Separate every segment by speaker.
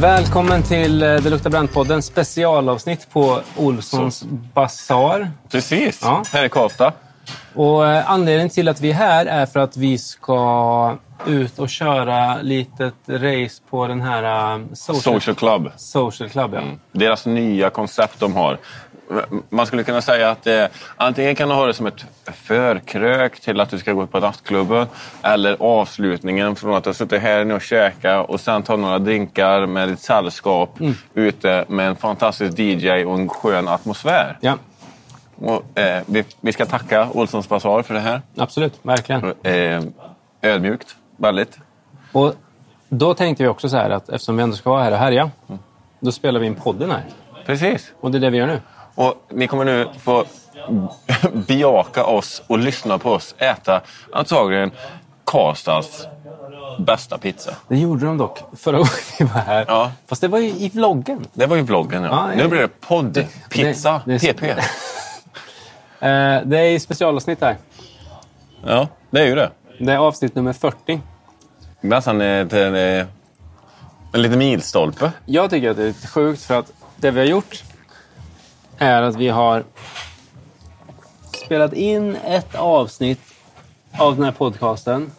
Speaker 1: Välkommen till eh, Det luktar bränt-podden specialavsnitt på Olssons basar.
Speaker 2: Precis,
Speaker 1: Ja.
Speaker 2: här i Karlstad.
Speaker 1: Och eh, anledningen till att vi är här är för att vi ska ut och köra litet race på den här eh, social, Mm.
Speaker 2: Social Club.
Speaker 1: social club. Ja.
Speaker 2: Deras nya koncept de har. Man skulle kunna säga att eh, antingen kan du ha det som ett förkrök till att du ska gå på nattklubben eller avslutningen från att du har suttit här nu och käkat och sen ta några drinkar med ditt sällskap
Speaker 1: Mm.
Speaker 2: ute med en fantastisk DJ och en skön atmosfär.
Speaker 1: ja,
Speaker 2: Och, eh, vi, vi ska tacka Olssons Basar för det här.
Speaker 1: absolut. Verkligen.
Speaker 2: Eh, ödmjukt, väldigt.
Speaker 1: Och då tänkte vi också så här att eftersom vi ändå ska vara här och härja, då spelar vi in podden här.
Speaker 2: Precis.
Speaker 1: Och det är det vi gör nu.
Speaker 2: Och ni kommer nu få bejaka oss och lyssna på oss äta antagligen Karlstads bästa pizza.
Speaker 1: Det gjorde de dock förra gången vi var här.
Speaker 2: Ja.
Speaker 1: Fast det var ju i vloggen.
Speaker 2: Det var ju vloggen. Ja.
Speaker 1: Ja, ja.
Speaker 2: nu blir det poddpizza.
Speaker 1: det- det-
Speaker 2: PP.
Speaker 1: Eh, det är specialavsnitt här.
Speaker 2: Ja, det är ju det.
Speaker 1: Det är avsnitt nummer 40.
Speaker 2: Nästan ett, en, eh, en liten milstolpe.
Speaker 1: Jag tycker att det är lite sjukt för att det vi har gjort är att vi har spelat in ett avsnitt av den här podcasten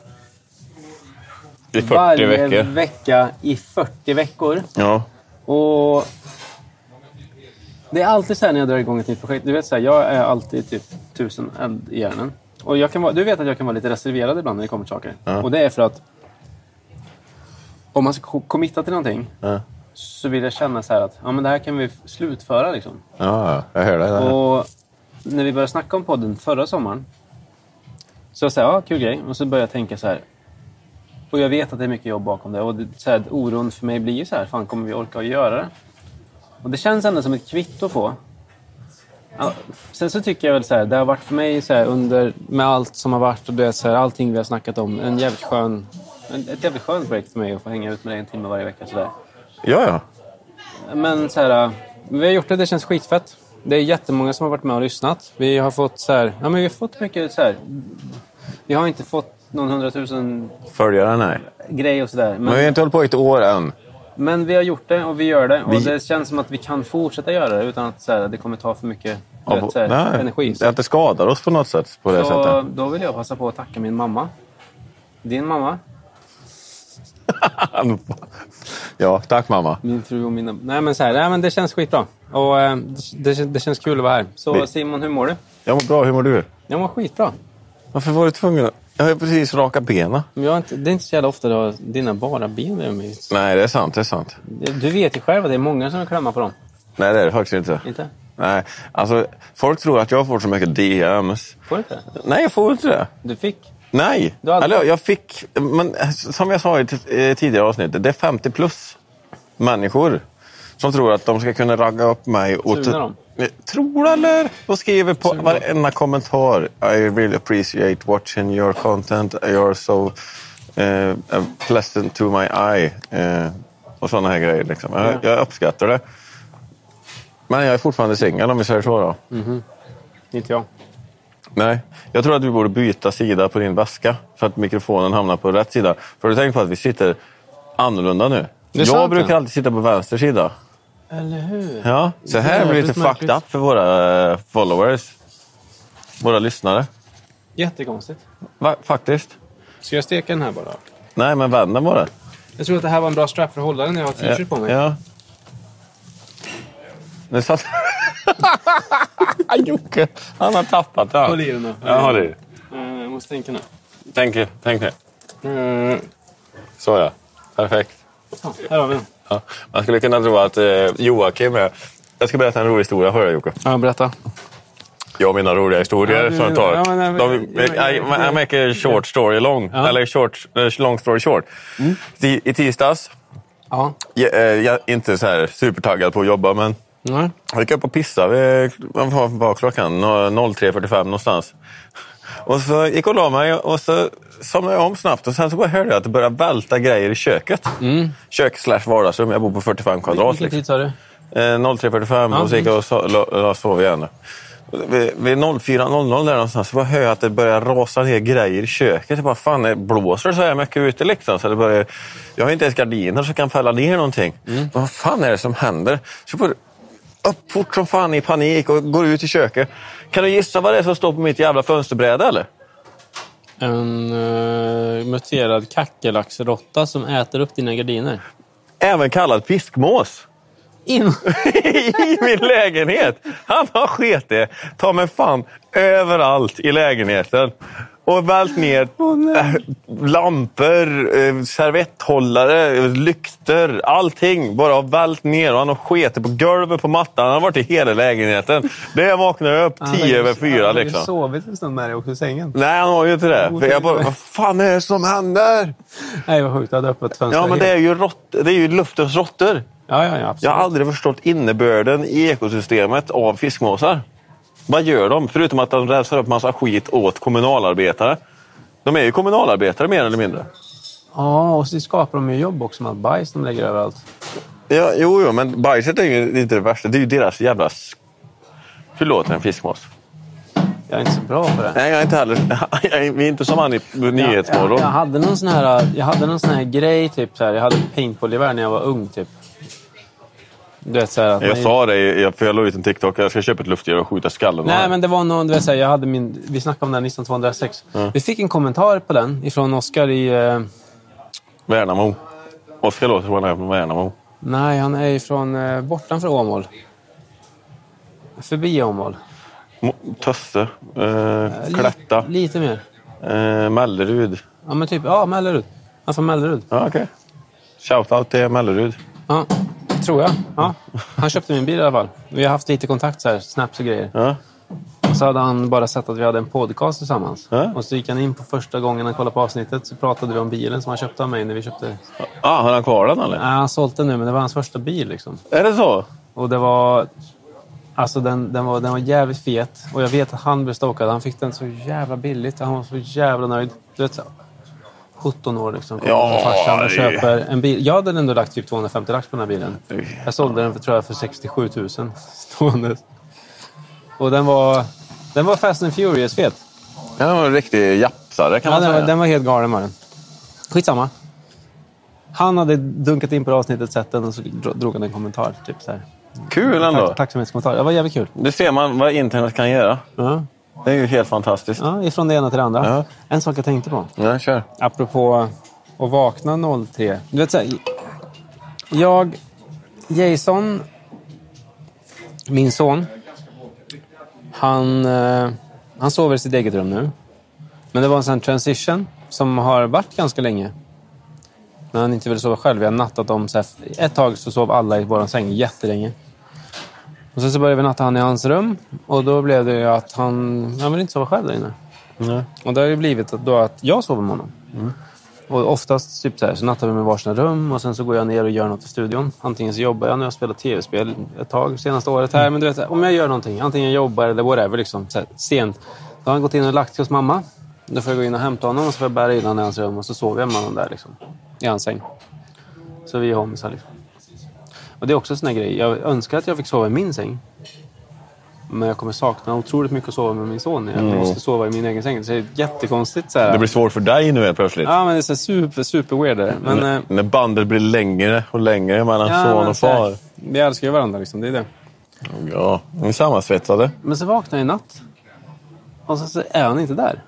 Speaker 2: I 40
Speaker 1: varje
Speaker 2: veckor.
Speaker 1: vecka i 40 veckor.
Speaker 2: ja.
Speaker 1: Och det är alltid så här när jag drar igång ett nytt projekt. Du vet så här, jag är alltid typ tusen eld i hjärnan. Och jag kan vara, du vet att jag kan vara lite reserverad ibland när det kommer till saker. Och det är för att om man ska ko- committa till någonting så vill jag känna så här att ja, men det här kan vi f- slutföra. Liksom.
Speaker 2: Ja, ja, jag hör dig. där.
Speaker 1: Och när vi började snacka om podden förra sommaren så jag sa jag, ja, kul grej. Och så började jag tänka så här. Och jag vet att det är mycket jobb bakom det. Och det, så här, oron för mig blir ju så här, fan kommer vi orka att göra det? Och det känns ändå som ett kvitto på. Ja, sen så tycker jag väl så här, det har varit för mig så här, under, med allt som har varit och det, så här, allting vi har snackat om, en jävligt skön, en, ett jävligt skönt projekt för mig att få hänga ut med dig en timme varje vecka. Så där.
Speaker 2: Ja, ja.
Speaker 1: Men så här, vi har gjort det, det känns skitfett. Det är jättemånga som har varit med och lyssnat. Vi har fått så här, ja men vi har fått mycket så här. Vi har inte fått någon hundratusen
Speaker 2: Följare, nej.
Speaker 1: grej och sådär.
Speaker 2: Men vi
Speaker 1: Men,
Speaker 2: har inte hållit på i ett år än.
Speaker 1: men vi har gjort det och vi gör det. Och
Speaker 2: Vi-
Speaker 1: det känns som att vi kan fortsätta göra det utan att så här, det kommer ta för mycket du vet, så här,
Speaker 2: nej.
Speaker 1: energi. Så,
Speaker 2: Att det skadar oss på något sätt. På det
Speaker 1: eh, så
Speaker 2: sättet.
Speaker 1: då vill jag passa på att tacka min mamma. Din mamma,
Speaker 2: Ja, tack mamma.
Speaker 1: min fru och mina... Nej men, så här, nej, men det känns skitbra. Och eh, det, det, det känns kul att vara här. Så
Speaker 2: Vi-
Speaker 1: Simon, hur mår du?
Speaker 2: Jag mår bra, hur mår du?
Speaker 1: Jag mår skitbra.
Speaker 2: Varför var du tvungen? att- Jag har ju precis rakat benen.
Speaker 1: Men jag har inte, det är inte så jävla ofta du har dina bara ben över mig.
Speaker 2: Nej, det är sant, det är sant.
Speaker 1: Du vet ju själv att det är många som klämmer på dem.
Speaker 2: Nej, det är det faktiskt inte.
Speaker 1: Inte?
Speaker 2: Nej, alltså folk tror att jag får så mycket DMs.
Speaker 1: Får du inte?
Speaker 2: Nej, jag får inte det.
Speaker 1: Du fick.
Speaker 2: Nej,
Speaker 1: Du har aldrig-
Speaker 2: eller jag fick... Men eh, som jag sa i ett eh, tidigare avsnitt, det är 50 plus människor som tror att de ska kunna ragga upp mig. Och
Speaker 1: Sugna dem.
Speaker 2: Eh, Tror eller? De skriver på varenda kommentar. I really appreciate watching your content. You're so eh, pleasant to my eye. Eh, och sådana här grejer. Liksom. Jag, jag uppskattar det. Men jag är fortfarande singel om vi säger så. Då.
Speaker 1: Inte jag.
Speaker 2: Nej, jag tror att vi borde byta sida på din väska så att mikrofonen hamnar på rätt sida. För har du tänkt på att vi sitter annorlunda nu?
Speaker 1: är
Speaker 2: Jag
Speaker 1: sant,
Speaker 2: brukar
Speaker 1: ja.
Speaker 2: alltid sitta på vänster sida.
Speaker 1: Eller hur?
Speaker 2: Ja, så här
Speaker 1: Jävligt
Speaker 2: blir det lite
Speaker 1: märkligt.
Speaker 2: fucked up för våra eh, followers. Våra lyssnare.
Speaker 1: Jättekonstigt.
Speaker 2: Va, faktiskt.
Speaker 1: Ska jag steka den här bara?
Speaker 2: Nej, men vännen var det.
Speaker 1: Jag tror att det här var en bra strap för att hålla den när jag har t-shirt på mig.
Speaker 2: Ja. Nu satt... Jocke, han har tappat det.
Speaker 1: Håll i den då.
Speaker 2: Ja, håll i den.
Speaker 1: Eh, Jag måste tänka nu.
Speaker 2: Tänk, tänk nu.
Speaker 1: Eh,
Speaker 2: Så ja. Perfekt.
Speaker 1: ja, här har vi den.
Speaker 2: Ja. Man skulle kunna tro att eh, Joakim är... Jag ska berätta en rolig historia för dig, Jocke.
Speaker 1: Ja, berätta.
Speaker 2: Jag och mina roliga historier
Speaker 1: Ja, du-
Speaker 2: som jag tar.
Speaker 1: ja, men, ja, men-
Speaker 2: de,
Speaker 1: ja, ja,
Speaker 2: I,
Speaker 1: ja.
Speaker 2: I make a short story long.
Speaker 1: Ja. Mm.
Speaker 2: Eller short, eh, long story short. I, I tisdags,
Speaker 1: Ja.
Speaker 2: jag, eh, jag är inte så här supertaggad på att jobba, men
Speaker 1: Nej.
Speaker 2: jag gick upp och pissade. vid- Vad var- vad var klockan? Nå- 03.45 någonstans. Och så gick jag och la mig och så somnade jag om snabbt och sen så bara hörde jag att det började välta grejer i köket.
Speaker 1: Mm.
Speaker 2: Kök slash vardagsrum. Jag bor på 45 kvadrat.
Speaker 1: Vilken tid sa du?
Speaker 2: Eh, 03.45 och så gick jag och so- la- la- sov igen. Vid, vid 04.00 där någonstans så bara hör jag att det börjar rasa ner grejer i köket. Jag bara, fan det blåser så här mycket ute liksom. Så det börjar, jag har inte ens gardiner som kan fälla ner någonting. Vad fan är det som händer? Så jag bara, upp fort som fan i panik och går ut i köket. Kan du gissa vad det är som står på mitt jävla fönsterbräde eller?
Speaker 1: En uh, muterad kackerlacksråtta som äter upp dina gardiner.
Speaker 2: Även kallad fiskmås.
Speaker 1: In!
Speaker 2: i min lägenhet. Han har sketit ta mig fan överallt i lägenheten. Och vält ner eh, lampor, eh, servetthållare, eh, lyktor, allting. Bara har vält ner och han har sketit på golvet, på mattan. Han har varit i hela lägenheten. Det jag vaknade upp tio över fyra. Liksom.
Speaker 1: sovit en stund med dig också i sängen.
Speaker 2: Nej, han har ju inte det. För jag bara, vad fan är det som händer?
Speaker 1: Nej, vad sjukt. Du hade öppet fönster.
Speaker 2: Ja, men det är ju, rott, det är ju luftens råttor.
Speaker 1: ja, ja, ja, absolut.
Speaker 2: Jag har aldrig förstått innebörden i ekosystemet av fiskmåsar. Vad gör de? Förutom att de rensar upp massa skit åt kommunalarbetare. De är ju kommunalarbetare mer eller mindre.
Speaker 1: Ja, och så skapar de ju jobb också med allt bajs de lägger överallt.
Speaker 2: Ja, jo, jo, men bajset är ju inte det värsta. Det är ju deras jävla... sk- Förlåt, en fiskmås.
Speaker 1: Jag är inte så bra på det.
Speaker 2: Nej, jag är inte heller... Jag är, vi är inte som han i
Speaker 1: Jag, jag,
Speaker 2: Nyhetsmorgon.
Speaker 1: jag, hade någon sån här, jag hade någon sån här grej, typ så här. jag hade ett paintballgevär när jag var ung. Typ. Du vet, så här, att
Speaker 2: Jag
Speaker 1: man-
Speaker 2: sa det, jag, för jag la ut en TikTok. Jag ska köpa ett luftgevär och skjuta skallen av
Speaker 1: Nej,
Speaker 2: den.
Speaker 1: men det var någon, du vet, så här, jag hade min, vi snackade om den 1906. Vi fick en kommentar på den ifrån Oskar i... Eh,
Speaker 2: Värnamo. Oskar låter som han är från Värnamo.
Speaker 1: nej, han är ifrån eh, bortanför Åmål. Förbi Åmål.
Speaker 2: Mo- Tösse. Eh, Klätta.
Speaker 1: Li- lite mer.
Speaker 2: Eh, Mellerud.
Speaker 1: Ja, men typ, ja, Alltså, Mellerud. Han är från Mellerud.
Speaker 2: Ja, okej. Shoutout till Mellerud.
Speaker 1: Ja, tror jag. Ja. Han köpte min bil i alla fall. Vi har haft lite kontakt, så här, snaps och grejer.
Speaker 2: Ja.
Speaker 1: Och så hade han bara sett att vi hade en podcast tillsammans.
Speaker 2: Ja.
Speaker 1: Och så gick han in på första gången han kollade på avsnittet så pratade vi om bilen som han köpte av mig när vi köpte. Nej,
Speaker 2: Ah, har han kvar den eller?
Speaker 1: han sålt den nu, men det var hans första bil. Liksom.
Speaker 2: Är det så?
Speaker 1: Och det var... Alltså den, den, var, den var jävligt fet. Och jag vet att han blev stalkad. Han fick den så jävla billigt. Han var så jävla nöjd. Du vet, så- 17 år liksom. Kommer
Speaker 2: Ja,
Speaker 1: från farsan och
Speaker 2: det-
Speaker 1: köper en bil. Jag hade ändå lagt typ 250 lax på den här bilen. Jag sålde den för, tror jag, för 67 000 stående. Och den var, den var Fast and Furious-fet.
Speaker 2: Ja, Han var en riktig japsare kan
Speaker 1: Ja,
Speaker 2: man
Speaker 1: den, var,
Speaker 2: säga.
Speaker 1: den var helt galen var den. Skitsamma. Han hade dunkat in på det avsnittet, sett den och så dro- drog han en kommentar. Typ så här.
Speaker 2: Kul ändå.
Speaker 1: Tack, tacksamhetskommentar. Det var jävligt kul.
Speaker 2: Det ser man vad internet kan göra.
Speaker 1: Ja.
Speaker 2: Det är ju helt fantastiskt.
Speaker 1: Ja, ifrån det ena till det andra.
Speaker 2: Ja.
Speaker 1: En sak jag tänkte på.
Speaker 2: Ja, kör.
Speaker 1: Apropå att vakna 03. Du vet så här, Jag, Jason, min son, han, eh, han sover i sitt eget rum nu. Men det var en sån här transition som har varit ganska länge. När han inte ville sova själv. Vi har nattat dem. Så här, ett tag så sov alla i vår säng jättelänge. Och sen så började vi natta han i hans rum. Och då blev det ju att han, han ville inte sova själv där inne. Och det har ju blivit att, då att jag sover med honom. Och oftast typ så, här, så nattar vi med varsina rum och sen så går jag ner och gör något i studion. Antingen så jobbar jag nu, jag har spelat tv-spel ett tag senaste året här. Men du vet, så här, om jag gör någonting, antingen jobbar eller whatever, liksom, så här, sent. Då har han gått in och lagt sig hos mamma. Då får jag gå in och hämta honom och så får jag bära in honom i hans rum och så sover jag med honom där. Liksom, I hans säng. Så vi är homisar. Liksom. Och det är också en sån här grej. Jag önskar att jag fick sova i min säng. Men jag kommer sakna otroligt mycket att sova med min son. Jag måste sova i min egen säng. Så det är jättekonstigt. Så här.
Speaker 2: Det blir svårt för dig nu helt plötsligt.
Speaker 1: Ja, men det är så här super, super weird. det där. Men, eh,
Speaker 2: När bandet blir längre och längre mellan
Speaker 1: ja,
Speaker 2: son
Speaker 1: men
Speaker 2: och
Speaker 1: så här,
Speaker 2: far.
Speaker 1: Vi älskar ju varandra liksom, det är det.
Speaker 2: Ja, ni är sammansvetsade.
Speaker 1: Men så vaknar jag i natt. Och så, så är han inte där.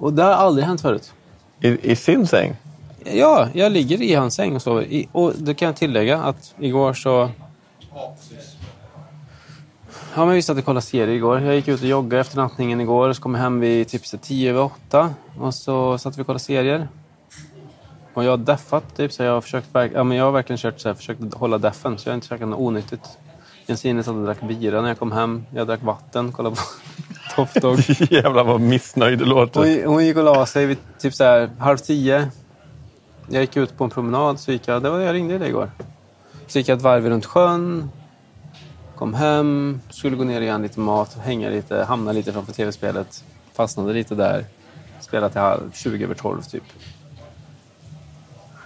Speaker 1: Och det har aldrig hänt förut.
Speaker 2: I, I sin säng.
Speaker 1: Ja, jag ligger i hans säng och sover. I, och då kan jag tillägga att igår så... Ja, men vi satt och kollade serier igår. Jag gick ut och joggade efter nattningen igår. och Så kom jag hem vid typ så tio över åtta. Och så satt vi och kollade serier. Och jag har deffat typ. Så jag har försökt, verk- ja, men jag har verkligen kört så här, försökt hålla deffen. Så jag har inte käkat något onyttigt. Jensine satt och drack bira när jag kom hem. Jag drack vatten, kollade på Top Dog.
Speaker 2: Jävlar vad missnöjd du låter.
Speaker 1: Hon, hon gick och la sig vid typ så här, halv tio. Jag gick ut på en promenad, så gick jag, det var, jag ringde dig igår. Så gick jag ett varv runt sjön, kom hem, skulle gå ner och göra lite mat, hänga lite, hamna lite framför tv-spelet, fastnade lite där. Spelade till halv, 20 över 12 typ.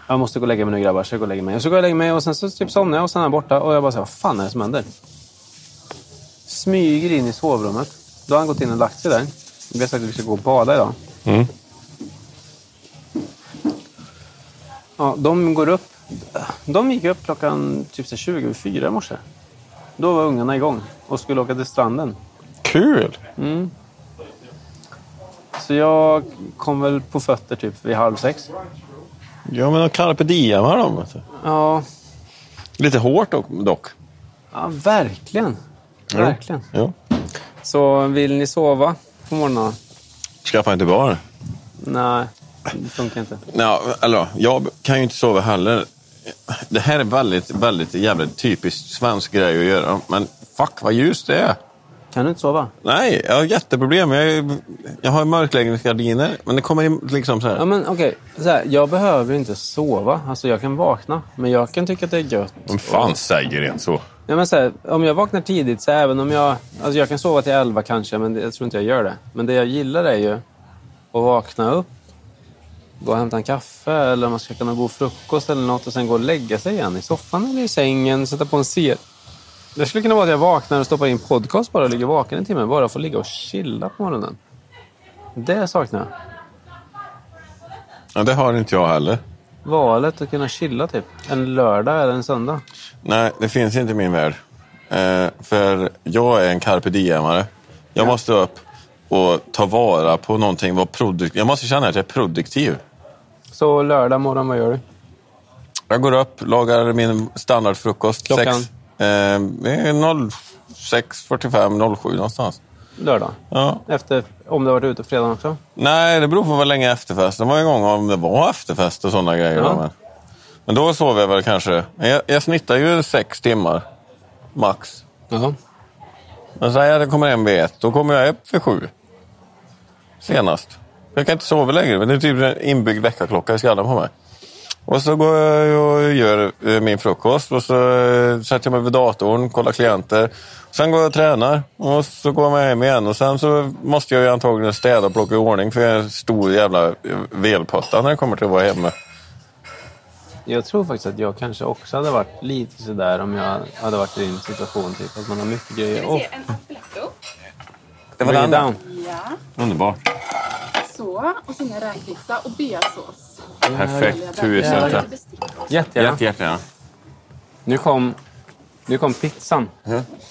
Speaker 1: Jag måste gå och lägga mig nu grabbar, så jag går och lägger mig. Och så går jag och lägger mig och sen så typ somnar jag och sen är han borta och jag bara så här, vad fan är det som händer? smyger in i sovrummet. Då har han gått in och lagt sig där. Vi har sagt att vi ska gå och bada idag. Ja, de går upp. De gick upp klockan typ så här 20 över fyra i morse. Då var ungarna igång och skulle åka till stranden.
Speaker 2: Kul!
Speaker 1: Så jag kom väl på fötter typ vid halv sex.
Speaker 2: Ja, men de carpe diem här de. vet du.
Speaker 1: Ja,
Speaker 2: Lite hårt dock- dock.
Speaker 1: ja verkligen. Verkligen.
Speaker 2: Ja.
Speaker 1: Så vill ni sova på morgonen?
Speaker 2: Skaffa inte barn.
Speaker 1: Nej, det funkar inte.
Speaker 2: Ja, eller, jag kan ju inte sova heller. Det här är väldigt, väldigt jävligt typiskt svensk grej att göra. Men fuck vad ljust det är.
Speaker 1: Kan du inte sova?
Speaker 2: Nej, jag har jätteproblem. Jag, är- jag har mörkläggningsgardiner, men det kommer in liksom så här.
Speaker 1: Ja, men okej. Så här, Jag behöver inte sova. Alltså, jag kan vakna. Men jag kan tycka att det är gött.
Speaker 2: Vem fan säger en så?
Speaker 1: Ja, men så här, om jag vaknar tidigt, så även om jag... Alltså, jag kan sova till elva kanske, men det, jag tror inte jag gör det. Men det jag gillar är ju att vakna upp, gå och hämta en kaffe eller om man ska kunna gå och frukost eller något och sen gå och lägga sig igen i soffan eller i sängen, sätta på en serie. Det skulle kunna vara att jag vaknar och stoppar in podcast bara och ligger vaken en timme. Bara få ligga och chilla på morgonen. Det saknar jag.
Speaker 2: Ja, det har inte jag heller.
Speaker 1: valet att kunna chilla typ. En lördag eller en söndag.
Speaker 2: Nej, det finns inte i min värld. Eh, för jag är en carpe diemare. Jag måste upp och ta vara på någonting. Vara produktiv. Jag måste känna att jag är produktiv.
Speaker 1: Så lördag morgon, vad gör du?
Speaker 2: Jag går upp, lagar min standardfrukost.
Speaker 1: Klockan?
Speaker 2: Sex, eh, 06.45, 07 någonstans.
Speaker 1: Lördag?
Speaker 2: Ja.
Speaker 1: Efter, om du har varit ute på fredagen också?
Speaker 2: Nej, det beror på vad länge efterfesten var igång. Om det var efterfest och sådana grejer.
Speaker 1: Ja.
Speaker 2: Då, men. men då sov jag väl kanske. Men Jag, jag snittar ju sex timmar, max.
Speaker 1: Ja.
Speaker 2: Men säg att jag kommer hem vid ett, då kommer jag upp vid sju. Senast. Jag kan inte sova längre, men det är typ en inbyggd väckarklocka i skallen på mig. Och så går jag och gör eh, min frukost och så eh, sätter jag mig vid datorn, kollar klienter. Sen går jag och tränar och så går jag hem igen. Och sen så måste jag ju antagligen städa och plocka i ordning för jag är en stor jävla eh, velpotta när jag kommer till att vara hemma.
Speaker 1: Jag tror faktiskt att jag kanske också hade varit lite sådär om jag hade varit i din situation. Typ att man har mycket grejer.
Speaker 3: Ska
Speaker 1: Oh,
Speaker 3: vi se, en affletto.
Speaker 2: Det
Speaker 1: bring it down.
Speaker 3: Ja.
Speaker 2: Underbart.
Speaker 3: Så. Och sen en räkpizza och beasås.
Speaker 2: Perfekt. Tusen tack.
Speaker 1: Jättegärna.
Speaker 2: Jättejättegärna.
Speaker 1: Nu kom, nu kom pizzan.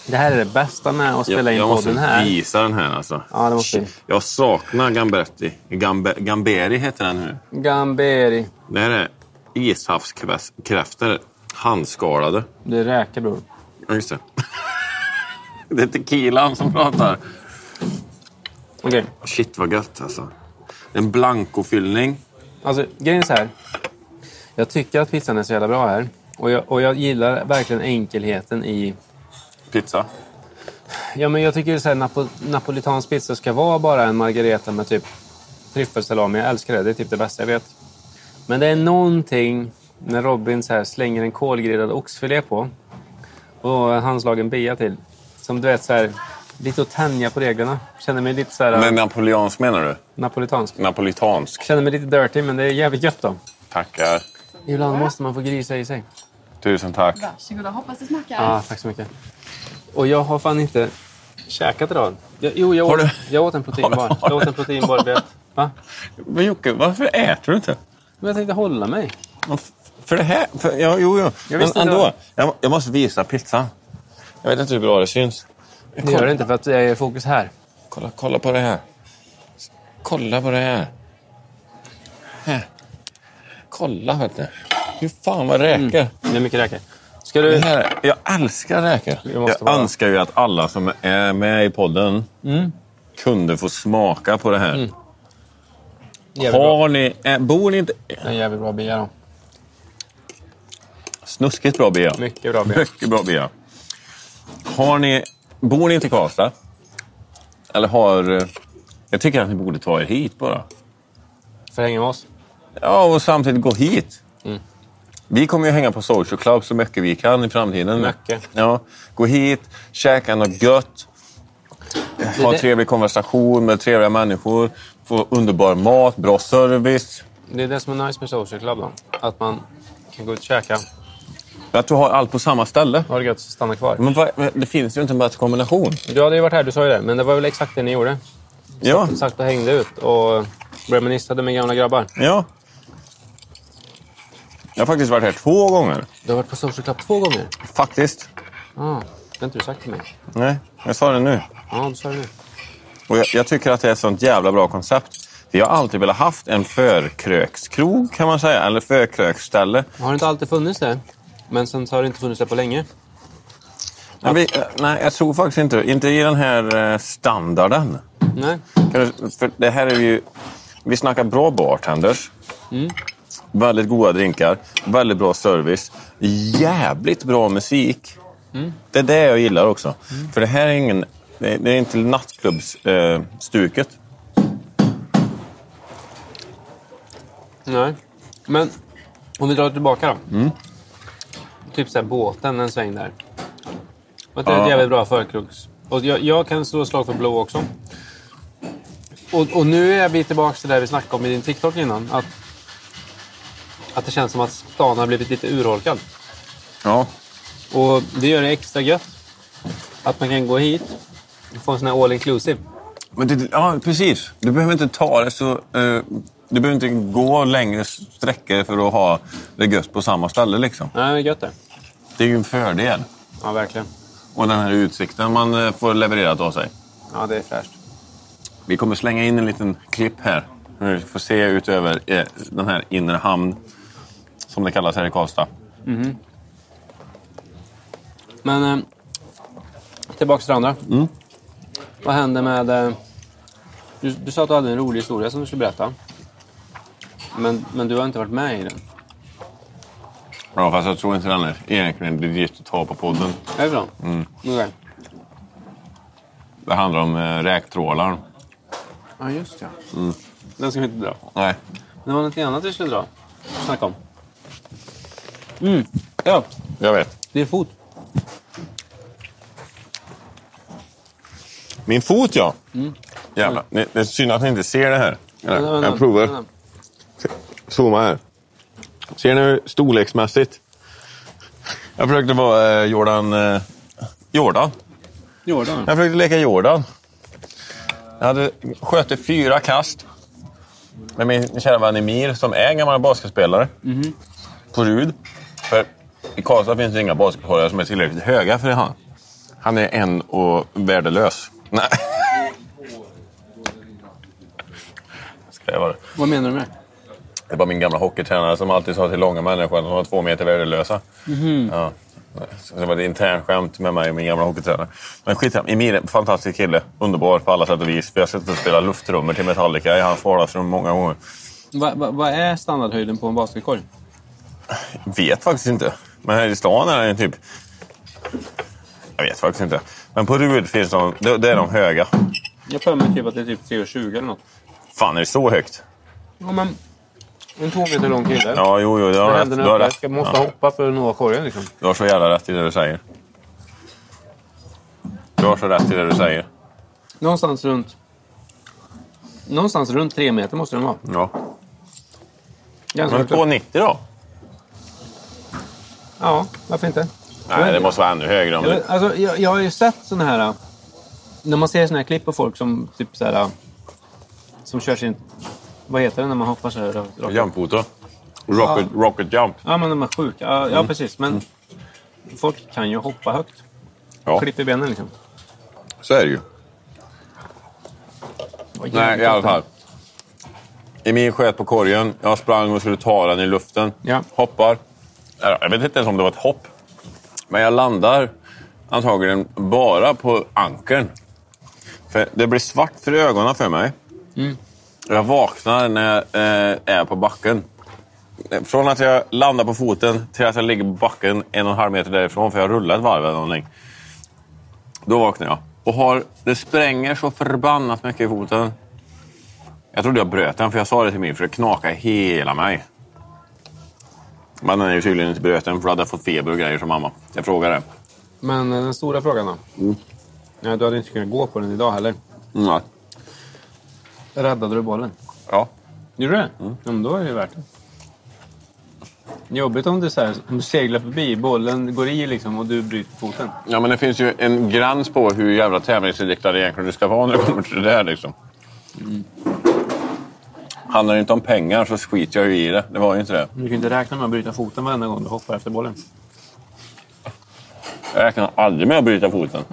Speaker 1: Det här är det bästa med att spela in podden här.
Speaker 2: visa den här alltså.
Speaker 1: Ja, det måste vi.
Speaker 2: Jag saknar Gambetti. Gambe, Gamberi heter den nu.
Speaker 1: Gamberi.
Speaker 2: Det här är ishavskräftor. Handskalade.
Speaker 1: Det är räkor, bror.
Speaker 2: Ja, just det. det är tequilan som pratar.
Speaker 1: Okej.
Speaker 2: Shit vad gött alltså. En blankofyllning.
Speaker 1: Alltså, grejen är så här. Jag tycker att pizzan är så jävla bra här. Och jag, och jag gillar verkligen enkelheten i...
Speaker 2: Pizza.
Speaker 1: Ja, men jag tycker så här, napo, napolitansk pizza ska vara bara en margareta med typ tryffelsalami. Jag älskar det. Det är typ det bästa jag vet. Men det är någonting när Robin så här slänger en kolgrillad oxfilé på och handslagen bea till. Som du vet, så här, lite att tänja på reglerna. Känner mig lite så här,
Speaker 2: Men napoleansk menar du?
Speaker 1: napolitansk.
Speaker 2: Napolitansk.
Speaker 1: Känner mig lite dirty, men det är jävligt gött då.
Speaker 2: Tackar.
Speaker 1: Ibland måste man få grisa i sig.
Speaker 2: Tusen tack.
Speaker 3: Varsågoda, hoppas det smakar.
Speaker 2: Mm.
Speaker 1: Ja, tack så mycket. Och jag har fan inte käkat idag. Jag, jo, jag
Speaker 2: Har
Speaker 1: åt,
Speaker 2: du-
Speaker 1: jag åt en
Speaker 2: Har
Speaker 1: proteinbar.
Speaker 2: du-
Speaker 1: Jag åt en proteinbar. vet. Va?
Speaker 2: Men Jocke, varför äter du inte?
Speaker 1: Men jag tänkte hålla mig.
Speaker 2: För det här? För, ja, jo, jo.
Speaker 1: Jag
Speaker 2: Men
Speaker 1: visste inte
Speaker 2: ändå.
Speaker 1: vad-
Speaker 2: Jag, jag måste visa pizzan. Jag vet inte hur bra det syns.
Speaker 1: Det gör det inte för att jag är fokus här.
Speaker 2: Kolla, kolla på det här. Kolla på det här. här. Kolla, vet du. Hur fan vad räkor.
Speaker 1: Det är mycket räkor. Ska
Speaker 2: Det
Speaker 1: du...
Speaker 2: här, jag älskar räkor.
Speaker 1: Det måste vara. Mm.
Speaker 2: önskar ju att alla som är med i podden kunde få smaka på det här.
Speaker 1: Jävligt bra.
Speaker 2: Har ni, ä, bor ni inte...
Speaker 1: Det är en jävligt bra bea då.
Speaker 2: Snuskigt bra, Bea.
Speaker 1: Mycket bra bea.
Speaker 2: Mycket bra, Bea. Har ni, bor ni inte i Karlstad? Eller har... eh, Jag tycker att ni borde ta er hit bara.
Speaker 1: För att hänga med oss.
Speaker 2: Ja, och samtidigt gå hit.
Speaker 1: Mm.
Speaker 2: Vi kommer ju hänga på Social Club så mycket vi kan i framtiden.
Speaker 1: Mycket.
Speaker 2: Ja, gå hit, käka något gött, ha
Speaker 1: det-
Speaker 2: trevlig konversation med trevliga människor, få underbar mat, bra service.
Speaker 1: Det är det som är nice med Social Club då. Att man kan gå ut och käka.
Speaker 2: Att du har allt på samma ställe.
Speaker 1: Ha det gött, så stanna kvar.
Speaker 2: Men vad, men det finns ju inte en bättre kombination.
Speaker 1: Du hade ju varit här, du sa ju det. Men det var väl exakt det ni gjorde.
Speaker 2: Ja,
Speaker 1: Satt och hängde ut och reministade med gamla grabbar.
Speaker 2: ja. Jag har faktiskt varit här två gånger.
Speaker 1: Du har varit på Social Club två gånger.
Speaker 2: Faktiskt.
Speaker 1: Ah, det har inte du sagt till mig.
Speaker 2: Nej, jag sa det nu.
Speaker 1: Ja, du sa det nu.
Speaker 2: Och jag, jag tycker att det är ett sånt jävla bra koncept. Vi har alltid velat haft en förkrökskrog kan man säga, eller förkröksställe.
Speaker 1: Har det inte alltid funnits det? Men sen så har det inte funnits det på länge.
Speaker 2: Men vi, eh, nej, jag tror faktiskt inte Inte i den här eh, standarden.
Speaker 1: Nej.
Speaker 2: Kan du- För det här är ju... Vi snackar bra bartenders. Väldigt goda drinkar. Väldigt bra service. Jävligt bra musik. Det är det jag gillar också. För det här är ingen... Det är, det är inte nattklubbsstuket. Eh, stuket.
Speaker 1: Nej. Men om vi drar tillbaka då. Typ så här båten en sväng där. Och det är ett
Speaker 2: Ja.
Speaker 1: jävligt bra förkrogs. Och jag, jag kan slå ett slag för blå också. Och, och nu är vi tillbaka till det vi snackade om i din TikTok innan. Att, att det känns som att stan har blivit lite urholkad.
Speaker 2: ja.
Speaker 1: Och det gör det extra gött. Att man kan gå hit och få en sån här all inclusive.
Speaker 2: Men det, ja, precis. Du behöver inte ta det så... Eh, du behöver inte gå längre sträckor för att ha det gött på samma ställe. Liksom.
Speaker 1: Nej, det är gött det.
Speaker 2: Det är ju en fördel.
Speaker 1: Ja, verkligen.
Speaker 2: Och den här utsikten man eh, får levererat av sig.
Speaker 1: Ja, det är fräscht.
Speaker 2: Vi kommer slänga in en liten klipp här. Hur vi får se ut över eh, den här inre hamn, som det kallas här i Karlstad.
Speaker 1: Men eh, tillbaka till det andra. Vad hände med... Eh, du, du sa att du hade en rolig historia som du skulle berätta. Men, men du har inte varit med i den.
Speaker 2: Ja, fast jag tror inte den är egentligen legit att ta på podden.
Speaker 1: Är det bra? Mm.
Speaker 2: Det handlar om eh, räktrålaren.
Speaker 1: Ja, just ja. Den ska vi inte dra.
Speaker 2: Nej.
Speaker 1: Det var något annat vi skulle dra. Snacka om. Mm. Ja,
Speaker 2: Jag vet.
Speaker 1: det är fot.
Speaker 2: Min fot, ja. Jävlar. Det det är synd att ni inte ser det här.
Speaker 1: Vänta,
Speaker 2: Jag,
Speaker 1: vänta,
Speaker 2: jag provar.
Speaker 1: vänta.
Speaker 2: Zooma här. Ser ni hur storleksmässigt? Jag försökte vara eh, Jordan... Eh, Jordan?
Speaker 1: Jordan.
Speaker 2: Mm. Jag försökte leka Jordan. Jag hade skötte fyra kast med min kära vän Emir som är en gammal basketspelare på Rud. För i Karlstad finns det inga basketspelare som är tillräckligt höga för han. Han är en och värdelös. Nej. Ska jag vara
Speaker 1: Vad menar du med det?
Speaker 2: det var min gamla hockeytränare som alltid sa till långa människor att de var två meter värdelösa. Ja. Så det var ett internt skämt med mig och min gamla hockeytränare. Men skitsamma, Emil är en fantastisk kille. Underbar på alla sätt och vis. Vi har suttit och spelat lufttrummor till Metallica i hans vardagsrum många gånger.
Speaker 1: Vad va, vad är standardhöjden på en basketkorg?
Speaker 2: Vet faktiskt inte. Men här i stan är den typ... Jag vet faktiskt inte. Men på Rud finns de... Det det är de höga.
Speaker 1: Jag har för mig typ att det är typ 3,20 eller något.
Speaker 2: Fan, är det så högt?
Speaker 1: Ja, men en två meter lång kille.
Speaker 2: Ja, jo, jo. Du har rätt. Du har rätt. Ja.
Speaker 1: hoppa för att nå korgen. Liksom.
Speaker 2: Du har så jävla rätt i det du säger. Du har så rätt i det du säger.
Speaker 1: Någonstans runt... Någonstans runt tre meter måste den vara.
Speaker 2: Ja.
Speaker 1: Ganska
Speaker 2: Men
Speaker 1: högt upp.
Speaker 2: 2,90 då?
Speaker 1: Ja, varför inte?
Speaker 2: Nej, det måste vara ännu högre. Om
Speaker 1: Jag,
Speaker 2: det.
Speaker 1: vet- alltså, jag, jag har ju sett såna här... äh, När man ser såna här klipp på folk som typ så här... äh, Som kör sin... Vad heter det när man hoppar så här? rakt- rakt?
Speaker 2: Jumphota. Rocket, rocket jump.
Speaker 1: Ja, men de är sjuka. Ja,
Speaker 2: Mm.
Speaker 1: ja precis. Men folk kan ju hoppa högt.
Speaker 2: Ja,
Speaker 1: Klipp i benen liksom.
Speaker 2: så är det ju. Nej, i alla fall. Emil sköt på korgen. Jag sprang och skulle ta den i luften.
Speaker 1: Ja.
Speaker 2: Hoppar. Eller, Jag vet inte ens om det var ett hopp. Men jag landar antagligen bara på ankern. För det blir svart för ögonen för mig. Och Jag vaknar när jag eh, är på backen. Från att jag landar på foten till att jag ligger på backen en och en halv meter därifrån för jag rullar ett varv eller någonting. Då vaknar jag. Och har, det spränger så förbannat mycket i foten. Jag trodde jag bröt den, för jag sa det till min för det knakade i hela mig. Men den är ju tydligen inte bröten, för då hade jag fått feber och grejer som mamma. Jag frågade.
Speaker 1: Men eh, den stora frågan då? Ja, du hade inte kunnat gå på den idag heller.
Speaker 2: Mm.
Speaker 1: Räddade du bollen?
Speaker 2: Ja.
Speaker 1: Mm. Gjorde du det? Ja, men då är det ju värt det. Jobbigt om du, så här, om du seglar förbi, bollen går i liksom och du bryter foten.
Speaker 2: Ja, men det finns ju en gräns på hur jävla tävlingsinriktad egentligen du ska vara när det kommer till det där. Liksom. Handlar det inte om pengar så skiter jag ju i det. Det var ju inte det.
Speaker 1: Du kan ju inte räkna med att bryta foten varenda gång du hoppar efter bollen.
Speaker 2: Jag räknar aldrig med att bryta foten.